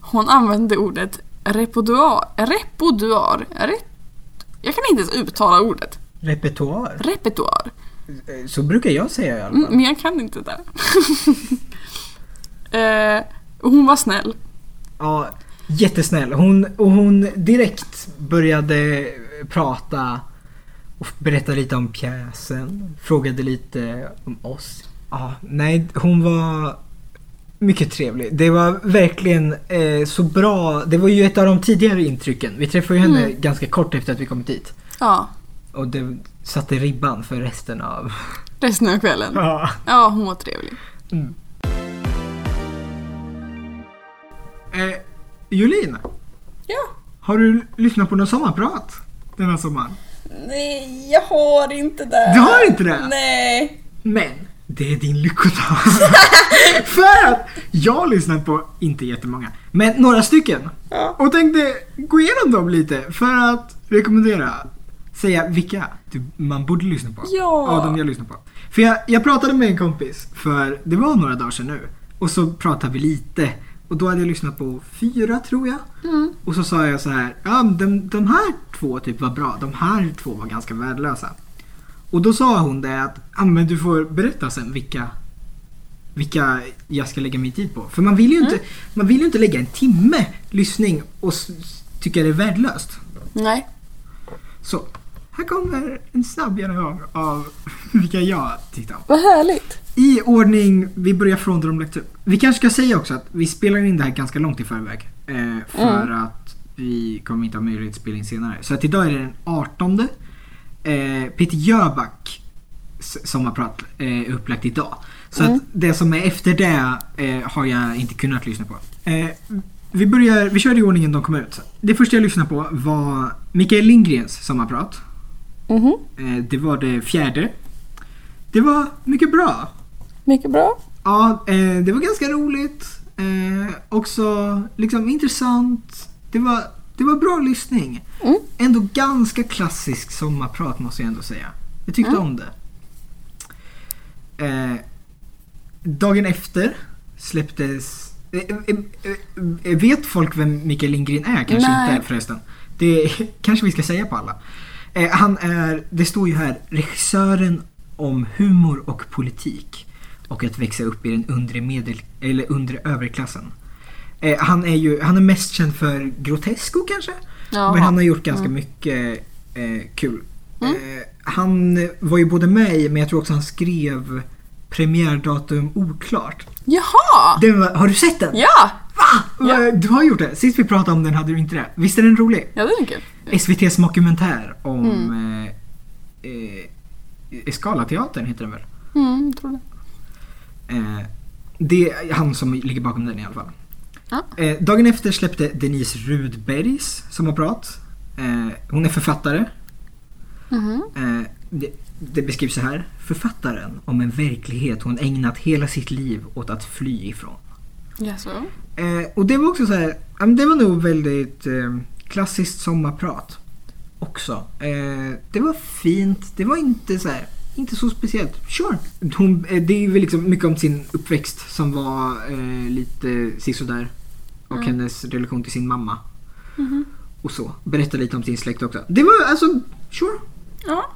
[SPEAKER 2] Hon använde ordet repoduar. Repoduar. Rep- jag kan inte ens uttala ordet.
[SPEAKER 1] Repertoar.
[SPEAKER 2] Repertoar.
[SPEAKER 1] Eh, Så brukar jag säga i alla
[SPEAKER 2] Mm,
[SPEAKER 1] fall.
[SPEAKER 2] men jag kan inte det där. eh, och hon var snäll.
[SPEAKER 1] Ja, jättesnäll. Hon, och hon direkt började prata och berätta lite om pjäsen. Frågade lite om oss. Ja, nej, hon var mycket trevlig. Det var verkligen eh, så bra. Det var ju ett av de tidigare intrycken. Vi träffade ju henne ganska kort efter att vi kommit dit.
[SPEAKER 2] Ja,
[SPEAKER 1] Och det satte ribban för resten av...
[SPEAKER 2] resten av kvällen.
[SPEAKER 1] Ja.
[SPEAKER 2] Ja, hon var trevlig.
[SPEAKER 1] Eh, Julin,
[SPEAKER 2] Ja.
[SPEAKER 1] har du lyssnat på någon sommarprat denna sommaren?
[SPEAKER 2] Nej, jag har inte det.
[SPEAKER 1] Du har inte det?
[SPEAKER 2] Nej.
[SPEAKER 1] Men det är din lyckodag. För att jag lyssnar på, inte jättemånga, men några stycken.
[SPEAKER 2] Ja.
[SPEAKER 1] Och tänkte gå igenom dem lite för att rekommendera. Säga vilka du, man borde lyssna på.
[SPEAKER 2] Ja.
[SPEAKER 1] Av de jag lyssnar på. För jag, jag pratade med en kompis för det var några dagar sedan nu. Och så pratade vi lite. Och då hade jag lyssnat på fyra tror jag.
[SPEAKER 2] Mm.
[SPEAKER 1] Och så sa jag så här, ja men de, de här två typ var bra, de här två var ganska värdelösa. Och då sa hon det att ah, men du får berätta sen vilka, vilka jag ska lägga min tid på. För man vill ju, inte, man vill ju inte lägga en timme lyssning och s- s- tycka det är värdelöst.
[SPEAKER 2] Nej.
[SPEAKER 1] Så, här kommer en snabb genomgång av vilka jag tittar på.
[SPEAKER 2] Vad härligt.
[SPEAKER 1] I ordning, vi börjar från där de lagt upp. Vi kanske ska säga också att vi spelar in det här ganska långt i förväg. Eh, för att vi kommer inte ha möjlighet att spela in senare. Så att idag är det den 18. Eh, Peter Jöback s- sommarprat eh, är upplagt idag. Så att det som är efter det eh, har jag inte kunnat lyssna på. Eh, vi, börjar, vi kör i ordningen de kom ut. Det första jag lyssnade på var Mikael Lindgrens sommarprat.
[SPEAKER 2] Mhm.
[SPEAKER 1] Eh, det var det fjärde. Det var mycket bra.
[SPEAKER 2] Mycket bra.
[SPEAKER 1] Ja, eh, det var ganska roligt. Eh, också liksom intressant. Det var, det var bra lyssning.
[SPEAKER 2] Mm.
[SPEAKER 1] Ändå ganska klassisk sommarprat måste jag ändå säga. Jag tyckte
[SPEAKER 2] Mm.
[SPEAKER 1] om det. Eh, dagen efter släpptes... eh, eh, eh, eh, Vet folk vem Mikael Lindgren är? Kanske
[SPEAKER 2] Nej.
[SPEAKER 1] inte förresten. Det kanske vi ska säga på alla. Eh, han är, det står ju här, regissören om humor och politik. Och att växa upp i den undre, medel, eller undre överklassen. Eh, han, är ju, han är mest känd för Grotesco kanske?
[SPEAKER 2] Jaha. Mm.
[SPEAKER 1] Men han har gjort ganska mycket eh, kul. Eh, han var ju både med i, men jag tror också han skrev premiärdatum oklart.
[SPEAKER 2] Jaha!
[SPEAKER 1] Den var, har du sett den?
[SPEAKER 2] Ah. Ja!
[SPEAKER 1] Va?
[SPEAKER 2] Ja.
[SPEAKER 1] Eh, Du har gjort det. Sist vi pratade om den hade du inte det. Visst är den rolig?
[SPEAKER 2] Ja, det är kul.
[SPEAKER 1] SVT's dokumentär om eh, eh, Eskalateatern heter den väl?
[SPEAKER 2] Mm, tror det.
[SPEAKER 1] Eh, det är han som ligger bakom den i alla fall.
[SPEAKER 2] Ja.
[SPEAKER 1] Eh, dagen efter släppte Denise Rudbergs sommarprat. Eh, hon är författare.
[SPEAKER 2] Mhm.
[SPEAKER 1] Eh, det, det beskrivs så här. Författaren om en verklighet hon ägnat hela sitt liv åt att fly ifrån.
[SPEAKER 2] Jaså?
[SPEAKER 1] Eh, och det var också så här, ja, men det var nog väldigt eh, klassiskt sommarprat också. Eh, det var fint, det var inte så här, inte så speciellt. Sure. Hon, eh, det är väl liksom mycket om sin uppväxt som var eh, lite sisådär. Och hennes relation till sin mamma. Och så. Berätta lite om sin släkt också. Det var alltså, sure.
[SPEAKER 2] Ja.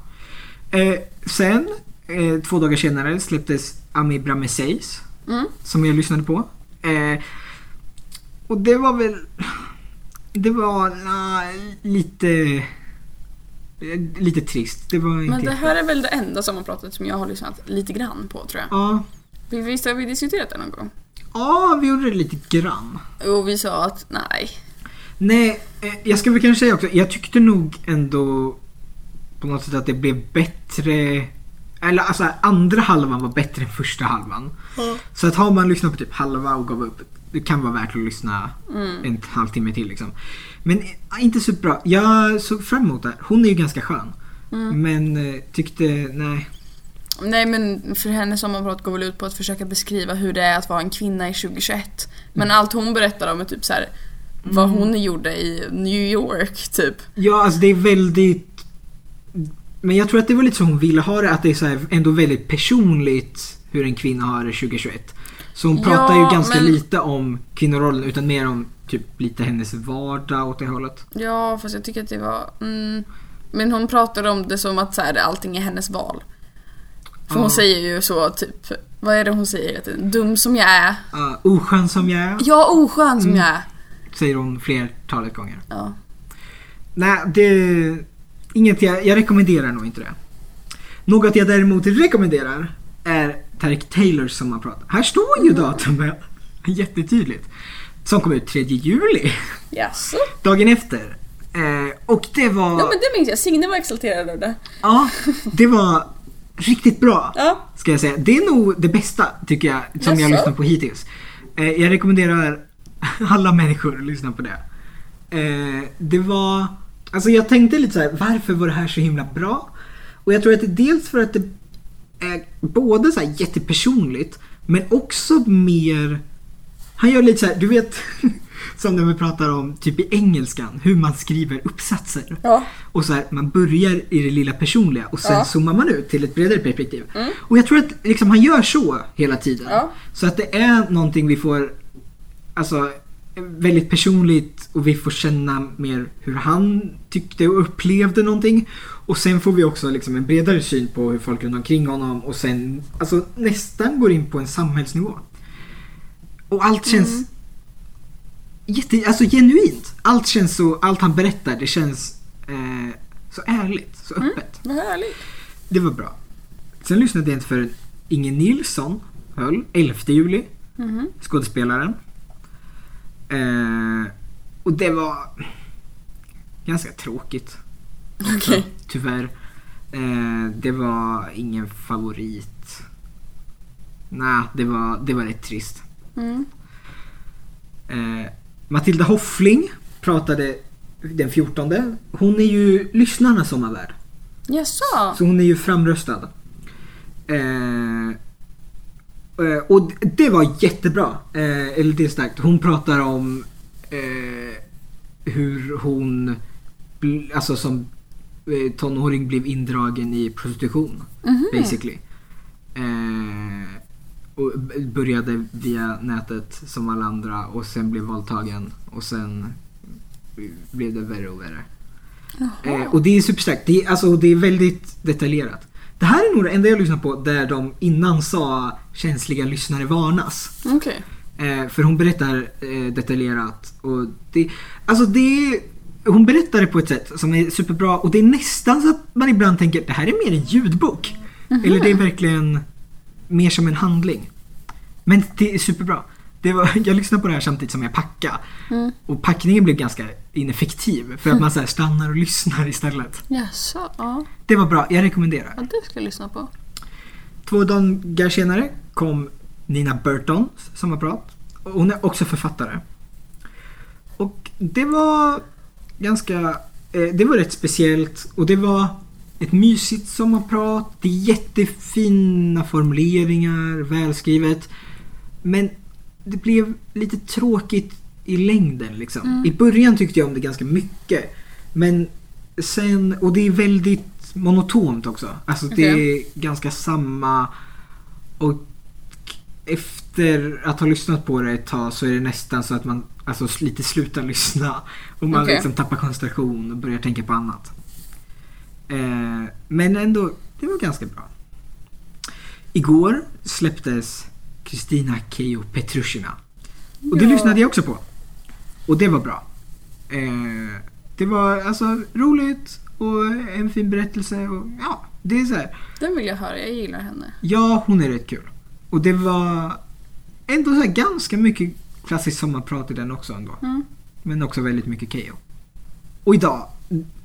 [SPEAKER 1] Eh, sen, eh, två dagar senare, släpptes Ami Brameseis.
[SPEAKER 2] Mm.
[SPEAKER 1] Som jag lyssnade på. Eh, och det var väl... Det var na, lite... eh, Lite trist. Det var inte...
[SPEAKER 2] Men det här är väl det enda sommarpratet som jag har lyssnat lite grann på tror jag.
[SPEAKER 1] Ja.
[SPEAKER 2] Vi- Visst har vi diskuterat det någon gång?
[SPEAKER 1] ja, vi gjorde det lite grann.
[SPEAKER 2] Och vi sa att nej.
[SPEAKER 1] Nej, eh, jag ska väl kanske säga också, jag tyckte nog ändå på något sätt att det blev bättre. Eller alltså andra halvan var bättre än första halvan. Så att har man lyssnat på typ halva och gav upp, det kan vara värt att lyssna
[SPEAKER 2] Mm.
[SPEAKER 1] en halvtimme till liksom. Men eh, inte superbra. Jag såg fram emot det. här. Hon är ju ganska skön.
[SPEAKER 2] Mm.
[SPEAKER 1] Men eh, tyckte, nej.
[SPEAKER 2] Nej men för hennes sommarprat går väl ut på att försöka beskriva hur det är att vara en kvinna i 2021. Men allt hon berättar om är typ så här vad hon gjorde i New York typ.
[SPEAKER 1] Ja, alltså det är väldigt... Men jag tror att det var lite så hon ville ha det, att det är så här ändå väldigt personligt hur en kvinna har det 2021. Så hon
[SPEAKER 2] Ja,
[SPEAKER 1] pratar ju ganska
[SPEAKER 2] men-
[SPEAKER 1] lite om kvinnorollen utan mer om typ lite hennes vardag åt det hållet.
[SPEAKER 2] Ja fast jag tycker att det var... Mm. Men hon pratar om det som att så här, allting är hennes val. För hon
[SPEAKER 1] Ja.
[SPEAKER 2] säger ju så typ, vad är det hon säger? Att Dum som jag är.
[SPEAKER 1] Uh, oskön som jag är,
[SPEAKER 2] Ja oskön som jag är.
[SPEAKER 1] säger hon flertalet gånger.
[SPEAKER 2] Ja.
[SPEAKER 1] Nej, det... Inget jag, jag rekommenderar nog inte det. Något jag däremot rekommenderar är Tarek Taylors sommarprat. Här står ju datumet jättetydligt. Som kom ut 3 juli.
[SPEAKER 2] Jaså?
[SPEAKER 1] dagen efter. Eh, och det var,
[SPEAKER 2] Ja men det minns jag, Signe var exalterad över det.
[SPEAKER 1] ja, det var riktigt bra.
[SPEAKER 2] Ja.
[SPEAKER 1] Ska jag säga. Det är nog det bästa tycker jag som jag
[SPEAKER 2] Jaså?
[SPEAKER 1] lyssnat på hittills. Eh, jag rekommenderar alla människor att lyssna på det. Eh, det var, alltså jag tänkte lite så här, varför var det här så himla bra? Och jag tror att det är dels för att det är både så här jättepersonligt men också mer han gör lite så här, du vet som när vi pratar om typ i engelskan hur man skriver uppsatser.
[SPEAKER 2] Ja.
[SPEAKER 1] Och så här, man börjar i det lilla personliga och sen
[SPEAKER 2] Ja. Mm.
[SPEAKER 1] zoomar man ut till ett bredare perspektiv. Och jag tror att liksom, han gör så hela tiden.
[SPEAKER 2] Ja.
[SPEAKER 1] Så att det är någonting vi får, alltså väldigt personligt och vi får känna mer hur han tyckte och upplevde någonting. Och sen får vi också liksom en bredare syn på hur folk runt omkring honom och sen alltså nästan går in på en samhällsnivå. Och allt känns
[SPEAKER 2] Mm.
[SPEAKER 1] jätte, alltså genuint. Allt känns så, allt han berättar det känns eh, så ärligt, så
[SPEAKER 2] Mm.
[SPEAKER 1] öppet.
[SPEAKER 2] Vad härligt.
[SPEAKER 1] Det var bra. Sen lyssnade jag inte förrän Inge Nilsson höll 11 juli,
[SPEAKER 2] Mhm.
[SPEAKER 1] skådespelaren. Eh, och det var ganska tråkigt. Alltså,
[SPEAKER 2] Okej.
[SPEAKER 1] Tyvärr. Eh, det var ingen favorit. Nej, det var, det var rätt trist.
[SPEAKER 2] Mm.
[SPEAKER 1] Eh, Matilda Hoffling pratade den 14. Hon är ju lyssnarnas sommarvärd.
[SPEAKER 2] Jaså?
[SPEAKER 1] Så hon är ju framröstad. Eh, eh, och d- det var jättebra. Eh, eller det är starkt. Hon pratar om eh, hur hon bl- alltså som eh, tonåring blev indragen i prostitution.
[SPEAKER 2] Mhm.
[SPEAKER 1] Basically. Eh, och b- började via nätet som alla andra och sen blev våldtagen och sen eh, blev det värre och värre. Eh, och det är superstarkt. Det är, alltså, det är väldigt detaljerat. Det här är nog det enda jag lyssnat på där de innan sa känsliga lyssnare varnas.
[SPEAKER 2] Okej.
[SPEAKER 1] Eh, för hon berättar eh, detaljerat. Och det, alltså det är, hon berättar det på ett sätt som är superbra och det är nästan så att man ibland tänker det här är mer en ljudbok. Eller det är verkligen mer som en handling. Men det är superbra. Det var, jag lyssnade på det här samtidigt som jag packade.
[SPEAKER 2] Mm.
[SPEAKER 1] Och packningen blev ganska ineffektiv för att man så här stannar och lyssnar istället.
[SPEAKER 2] Jaså? Ja.
[SPEAKER 1] Det var bra, jag rekommenderar.
[SPEAKER 2] ja, det ska jag lyssna på.
[SPEAKER 1] Två dagar senare kom Nina Burton, sommarprat. Och Hon är också författare. Och det var ganska, eh, det var rätt speciellt och det var ett mysigt sommarprat. Det är jättefina formuleringar, välskrivet. Men det blev lite tråkigt i längden liksom. I början tyckte jag om det ganska mycket. Men sen, och det är väldigt monotont också. Alltså det är
[SPEAKER 2] Okej.
[SPEAKER 1] ganska samma och efter att ha lyssnat på det ett tag så är det nästan så att man alltså, lite slutar lyssna. Och man
[SPEAKER 2] Okej.
[SPEAKER 1] liksom tappar koncentration och börjar tänka på annat. Eh, men ändå, det var ganska bra. Igår släpptes Kristina Keijo Petrushina. Och det
[SPEAKER 2] Ja.
[SPEAKER 1] lyssnade jag också på. Och det var bra. Eh, det var alltså roligt och en fin berättelse. Och, ja, det är så här.
[SPEAKER 2] Den vill jag höra, jag gillar henne.
[SPEAKER 1] Ja, hon är rätt kul. Och det var ändå så här ganska mycket klassiskt sommarprat i den också ändå.
[SPEAKER 2] Mm.
[SPEAKER 1] Men också väldigt mycket Keyyo. Och idag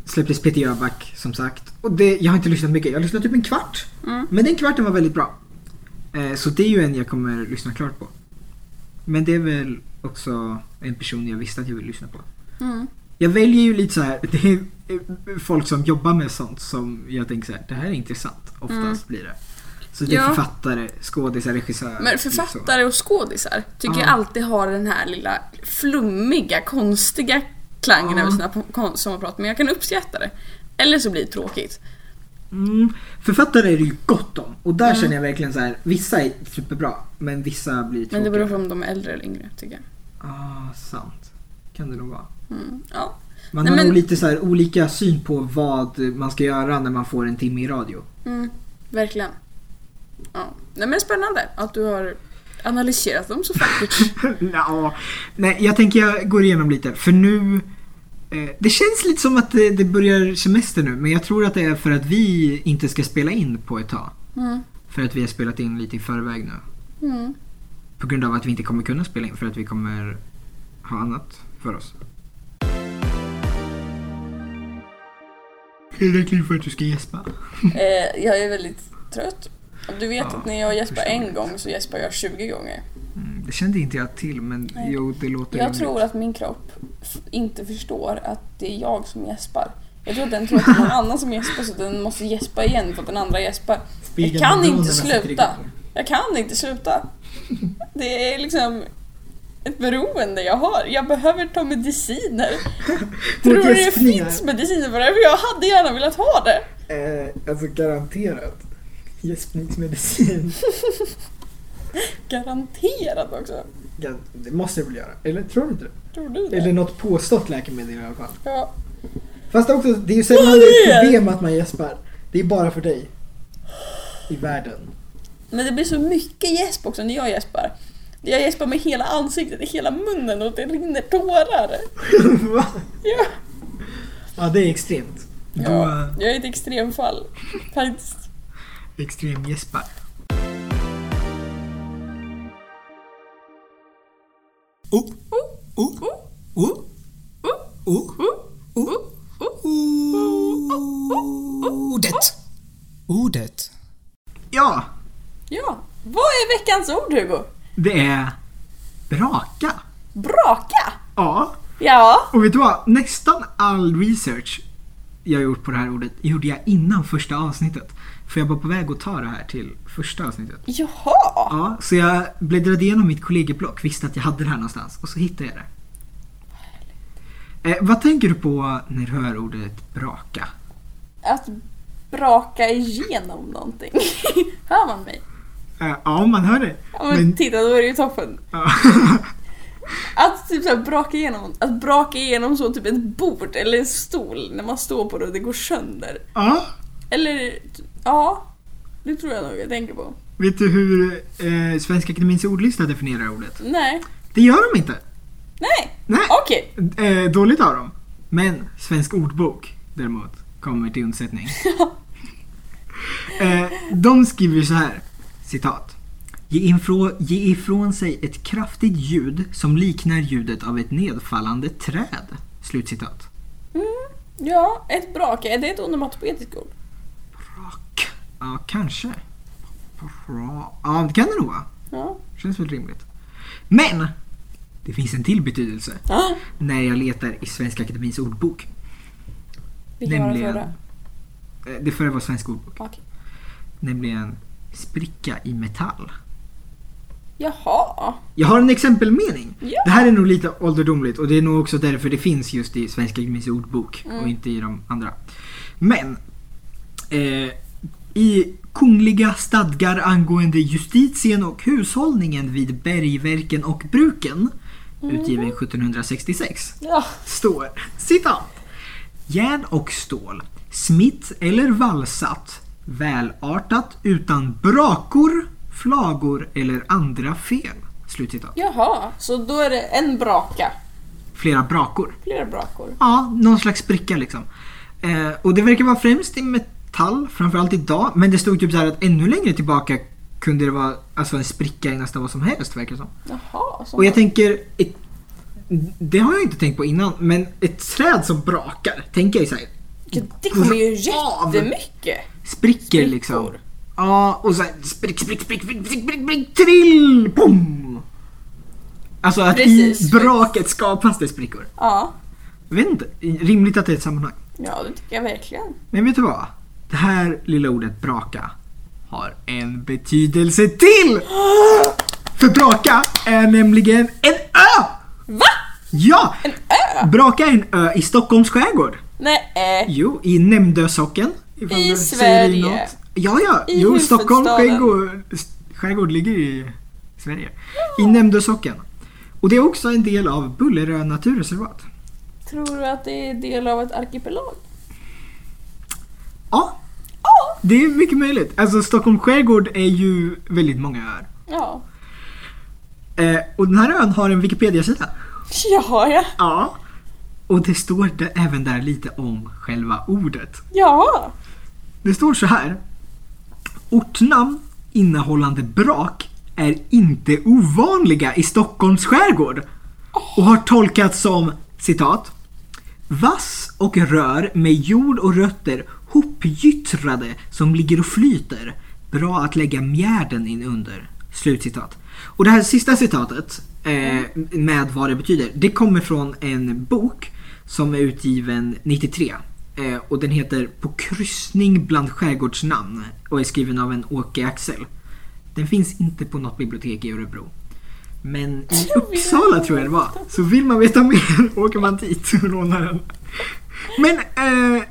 [SPEAKER 1] släpptes Peter Jöback som sagt. Och det, jag har inte lyssnat mycket, jag har lyssnat typ en kvart.
[SPEAKER 2] Mm.
[SPEAKER 1] Men den kvarten var väldigt bra. Eh, så det är ju en jag kommer lyssna klart på. Men det är väl också en person jag visste att jag vill lyssna på.
[SPEAKER 2] Mm.
[SPEAKER 1] Jag väljer ju lite så här, det är eh, folk som jobbar med sånt som jag tänker så här, det här är intressant. Oftast
[SPEAKER 2] Mm.
[SPEAKER 1] blir det. Så det är
[SPEAKER 2] Ja.
[SPEAKER 1] författare, skådisar, regissörer.
[SPEAKER 2] Men
[SPEAKER 1] lite så.
[SPEAKER 2] författare och skådisar tycker
[SPEAKER 1] Ja.
[SPEAKER 2] jag alltid har den här lilla flummiga, konstiga klangen
[SPEAKER 1] Ja.
[SPEAKER 2] över sina po- kon- sommarprat. Men jag kan uppskatta det. Eller så blir det tråkigt.
[SPEAKER 1] Mm, författare är det ju gott om. Och där
[SPEAKER 2] Mm.
[SPEAKER 1] känner jag verkligen så här, vissa är superbra men vissa blir tråkiga.
[SPEAKER 2] Men det beror på om de är äldre eller yngre tycker jag.
[SPEAKER 1] Ah, sant. Kan det nog vara.
[SPEAKER 2] Mm. Ja.
[SPEAKER 1] Man
[SPEAKER 2] Nej,
[SPEAKER 1] har
[SPEAKER 2] men-
[SPEAKER 1] nog lite så här olika syn på vad man ska göra när man får en timme i radio.
[SPEAKER 2] Mm, verkligen. Ja. Nej men spännande att du har analyserat dem så vackert.
[SPEAKER 1] Nja, nej jag tänker jag går igenom lite för nu eh, det känns lite som att det, det börjar semester nu men jag tror att det är för att vi inte ska spela in på ett tag.
[SPEAKER 2] Mm.
[SPEAKER 1] För att vi har spelat in lite i förväg nu.
[SPEAKER 2] Mm.
[SPEAKER 1] På grund av att vi inte kommer kunna spela in för att vi kommer ha annat för oss. Tillräckligt för att du ska gäspa.
[SPEAKER 2] Eh, jag är väldigt trött. Och Du vet
[SPEAKER 1] Ja,
[SPEAKER 2] att när jag gäspar en
[SPEAKER 1] förståeligt.
[SPEAKER 2] gång så gäspar jag 20 gånger.
[SPEAKER 1] Mm, det kände inte jag till men
[SPEAKER 2] Nej.
[SPEAKER 1] jo det låter
[SPEAKER 2] Jag
[SPEAKER 1] rimligt.
[SPEAKER 2] tror att min kropp f- inte förstår att det är jag som gäspar. Jag tror att den tror att det är någon annan som gäspar så den måste gäspa igen för att den andra gäspar. Jag kan inte sluta. Jag kan inte sluta. Det är liksom ett beroende jag har. Jag behöver ta mediciner. Tror du det
[SPEAKER 1] gäspningar.
[SPEAKER 2] finns mediciner för det? här? För jag hade gärna velat ha det.
[SPEAKER 1] Eh, alltså garanterat. Gäspningsmedicin.
[SPEAKER 2] Garanterat också.
[SPEAKER 1] Ja, det måste det väl göra? Eller tror du inte det?
[SPEAKER 4] Tror du
[SPEAKER 1] Eller något påstått läkemedel i alla fall.
[SPEAKER 4] Ja.
[SPEAKER 1] Fast också, det är ju sällan det är ett problem att man gäspar. Det är bara för dig. I världen.
[SPEAKER 2] Men det blir så mycket gäsp också när jag gäspar. Jag gäspar med hela ansiktet, i hela munnen och det rinner tårar.
[SPEAKER 1] Va?
[SPEAKER 2] Ja.
[SPEAKER 1] ja, det är extremt. Du
[SPEAKER 2] Ja,
[SPEAKER 1] ja.
[SPEAKER 2] jag är ett extremfall. Faktiskt.
[SPEAKER 1] extremgäspar. Oh, oh, oh, oh, oh,
[SPEAKER 5] Ordet. Ordet.
[SPEAKER 1] Ja,
[SPEAKER 2] Ja. Vad är veckans ord Hugo?
[SPEAKER 1] det är braka.
[SPEAKER 2] Braka!
[SPEAKER 1] Ja,
[SPEAKER 2] Ja.
[SPEAKER 1] och vet du vad? Nästan all research jag gjort på det här ordet gjorde jag innan första avsnittet. För jag var på väg att ta det här till första avsnittet.
[SPEAKER 2] Jaha.
[SPEAKER 1] Ja, så jag bläddrade igenom mitt kollegieblock, visste att jag hade det här någonstans och så hittade jag det. Eh, vad tänker du på när du hör ordet braka?
[SPEAKER 2] Att braka igenom någonting. Hör man mig?
[SPEAKER 1] Eh, ja, man hör det.
[SPEAKER 2] Ja, men,
[SPEAKER 1] Men-
[SPEAKER 2] titta, då är det ju toppen.
[SPEAKER 1] Ja.
[SPEAKER 2] Att typ så här, braka igenom att braka igenom så typ ett bord eller en stol när man står på det och det går sönder.
[SPEAKER 1] ja,
[SPEAKER 2] Eller, ja. Det tror jag nog jag tänker på.
[SPEAKER 1] vet du hur eh, Svenska Akademiens ordlista definierar ordet?
[SPEAKER 2] Nej.
[SPEAKER 1] Det gör de inte.
[SPEAKER 2] Nej.
[SPEAKER 1] Nej,
[SPEAKER 2] Okej.
[SPEAKER 1] eh, dåligt av dem. Men Svensk ordbok däremot kommer till undsättning. eh, de skriver så här, citat. Ge, infrå, ge ifrån sig ett kraftigt ljud som liknar ljudet av ett nedfallande träd. Slutcitat.
[SPEAKER 2] Mm. Ja, ett braka. Är det ett onomatopoetiskt ord?
[SPEAKER 1] Rock. Ja, kanske. Bra. Ja, det kan det nog vara.
[SPEAKER 2] Ja.
[SPEAKER 1] Känns väl rimligt. Men! Det finns en till betydelse
[SPEAKER 2] Ah,
[SPEAKER 1] när jag letar i Svenska Akademiens ordbok.
[SPEAKER 2] vilken var den
[SPEAKER 1] Nämligen-
[SPEAKER 2] förra?
[SPEAKER 1] Eh, Det förra var Svensk ordbok.
[SPEAKER 2] Okej.
[SPEAKER 1] Nämligen spricka i metall.
[SPEAKER 2] Jaha.
[SPEAKER 1] Jag har en exempelmening.
[SPEAKER 2] Ja.
[SPEAKER 1] Det här är nog lite ålderdomligt och det är nog också därför det finns just i Svenska Akademiens ordbok
[SPEAKER 2] Mm.
[SPEAKER 1] och inte i de andra. Men eh, i Kungliga stadgar angående justitien och hushållningen vid bergverken och bruken
[SPEAKER 2] Mm.
[SPEAKER 1] utgiven 1766
[SPEAKER 2] Ja.
[SPEAKER 1] står citat. Järn och stål, smitt eller valsat, välartat utan brakor, flagor eller andra fel. Slutcitat.
[SPEAKER 2] Jaha, så då är det en braka.
[SPEAKER 1] Flera brakor.
[SPEAKER 2] Flera brakor.
[SPEAKER 1] Ja, någon slags spricka liksom. Eh, och det verkar vara främst i metall, framförallt idag. Men det stod typ så här att ännu längre tillbaka kunde det vara alltså en spricka i nästan vad som helst verkar det som.
[SPEAKER 2] Jaha. Så
[SPEAKER 1] Och jag tänker, ett, det har jag inte tänkt på innan, men ett träd som brakar, tänker jag ju så här,
[SPEAKER 2] det kommer ju
[SPEAKER 1] Av.
[SPEAKER 2] jättemycket.
[SPEAKER 1] spricker liksom.
[SPEAKER 2] Sprickor.
[SPEAKER 1] Ja, och så här, sprick, sprick, sprick, sprick, sprick, sprick, sprick, trill, pom! Alltså att
[SPEAKER 2] Precis.
[SPEAKER 1] i braket skapas det sprickor.
[SPEAKER 2] Ja.
[SPEAKER 1] Jag vet inte, rimligt att det är ett sammanhang.
[SPEAKER 2] ja, det tycker jag verkligen.
[SPEAKER 1] Men vet du vad? Det här lilla ordet braka har en betydelse till! För braka är nämligen en ö!
[SPEAKER 2] Va?
[SPEAKER 1] Ja!
[SPEAKER 2] En ö?
[SPEAKER 1] Braka är en ö i Stockholms skärgård.
[SPEAKER 2] Nej. eh,
[SPEAKER 1] Jo, i Nämndösocken. ifall
[SPEAKER 2] I
[SPEAKER 1] det säger dig
[SPEAKER 2] Sverige.
[SPEAKER 1] något. Ja, ja.
[SPEAKER 2] I
[SPEAKER 1] jo, Stockholms
[SPEAKER 2] huvudstaden.
[SPEAKER 1] skärgård, skärgård ligger i Sverige. I Nämndösocken. Och det är också en del av Bullerö naturreservat.
[SPEAKER 2] Tror du att det är del av ett arkipelag?
[SPEAKER 1] Ja,
[SPEAKER 2] Ja.
[SPEAKER 1] det är mycket möjligt. Alltså Stockholms skärgård är ju väldigt många öar.
[SPEAKER 2] Ja.
[SPEAKER 1] Eh, och den här ön har en Wikipedia-sida.
[SPEAKER 2] Ja, ja.
[SPEAKER 1] Ja. Och det står där, även där lite om själva ordet.
[SPEAKER 2] Ja.
[SPEAKER 1] Det står så här. Ortnamn innehållande brak är inte ovanliga i Stockholms skärgård och har tolkats som citat Vass och rör med jord och rötter hopgyttrade som ligger och flyter. Bra att lägga mjärden in under. Slutcitat. Och det här sista citatet eh, med vad det betyder, det kommer från en bok som är utgiven 93. Eh, och den heter På kryssning bland skärgårdsnamn och är skriven av en Åke Axel. Den finns inte på något bibliotek i Örebro. Men i Uppsala tror jag det var. Så vill man veta mer åker man dit och lånar den. Men eh,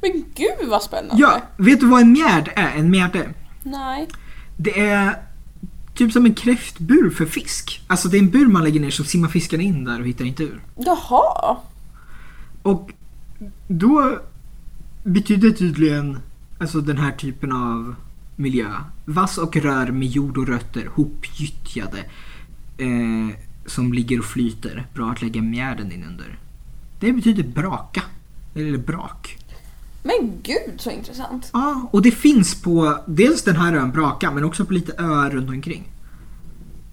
[SPEAKER 2] Men gud vad spännande.
[SPEAKER 1] ja, vet du vad en mjärd är? En mjärde?
[SPEAKER 2] Nej.
[SPEAKER 1] Det är Typ som en kräftbur för fisk. Alltså det är en bur man lägger ner så simmar fiskarna in där och hittar inte ur.
[SPEAKER 2] Jaha!
[SPEAKER 1] Och då betyder tydligen alltså den här typen av miljö vass och rör med jord och rötter hopgyttjade eh, som ligger och flyter. Bra att lägga mjärden in under. Det betyder braka. Eller brak.
[SPEAKER 2] Men gud så intressant.
[SPEAKER 1] Ja, och det finns på dels den här ön Braka men också på lite öar runt omkring.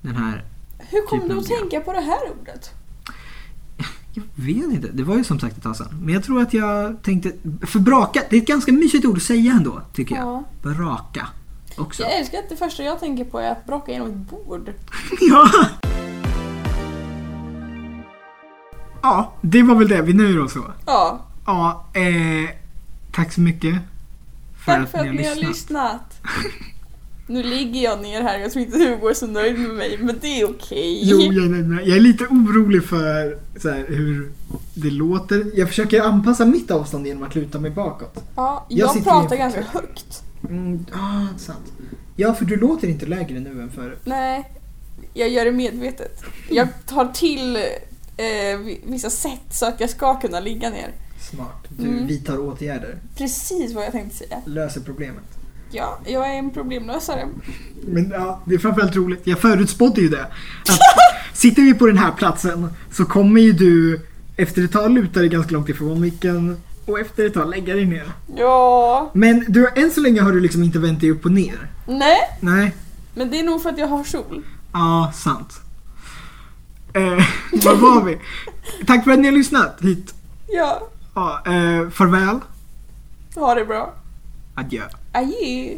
[SPEAKER 1] Den här,
[SPEAKER 2] Hur kom
[SPEAKER 1] Typ
[SPEAKER 2] du
[SPEAKER 1] nog,
[SPEAKER 2] att
[SPEAKER 1] ja.
[SPEAKER 2] tänka på det här ordet?
[SPEAKER 1] jag vet inte, det var ju som sagt ett tag sedan. Men jag tror att jag tänkte, för Braka, det är ett ganska mysigt ord att säga ändå tycker jag.
[SPEAKER 2] Ja.
[SPEAKER 1] Braka också.
[SPEAKER 2] Jag älskar att det första jag tänker på är att braka genom ett bord.
[SPEAKER 1] Ja. ja, det var väl det, vi nöjer oss så.
[SPEAKER 2] Ja,
[SPEAKER 1] Ja, eh, tack så mycket.
[SPEAKER 2] tack för att ni har lyssnat. Nu ligger jag ner här, jag tror inte Hugo är så nöjd med mig, men det är okej.
[SPEAKER 1] Jo, jag, är nöjd med det. jag är lite orolig för så här, hur det låter. Jag försöker anpassa mitt avstånd genom att luta mig bakåt.
[SPEAKER 2] Ja,
[SPEAKER 1] Jag
[SPEAKER 2] jag
[SPEAKER 1] sitter
[SPEAKER 2] pratar
[SPEAKER 1] ner.
[SPEAKER 2] ganska högt.
[SPEAKER 1] Mm, ah, sant. Ja, för du låter inte lägre nu än förut.
[SPEAKER 2] Nej, jag gör det medvetet. Jag tar till eh, vi- vissa sätt så att jag ska kunna ligga ner.
[SPEAKER 1] Smart. Du
[SPEAKER 2] Mm.
[SPEAKER 1] vidtar åtgärder.
[SPEAKER 2] Precis vad jag tänkte säga.
[SPEAKER 1] Löser problemet.
[SPEAKER 2] Ja, jag är en problemlösare.
[SPEAKER 1] Men ja, det är framförallt roligt. Jag förutspådde ju det. Att sitter vi på den här platsen så kommer ju du efter ett tag luta dig ganska långt ifrån micken och efter ett tag lägga dig ner.
[SPEAKER 2] Ja.
[SPEAKER 1] Men du, än så länge har du liksom inte vänt dig upp och ner.
[SPEAKER 2] Nej,
[SPEAKER 1] Nej.
[SPEAKER 2] men det är nog för att jag har sol.
[SPEAKER 1] Ja, sant. Eh, var var vi? Tack för att ni har lyssnat hit.
[SPEAKER 2] Ja,
[SPEAKER 1] Ja, eh, farväl.
[SPEAKER 2] ha det bra.
[SPEAKER 1] Adjö.
[SPEAKER 2] Adjö.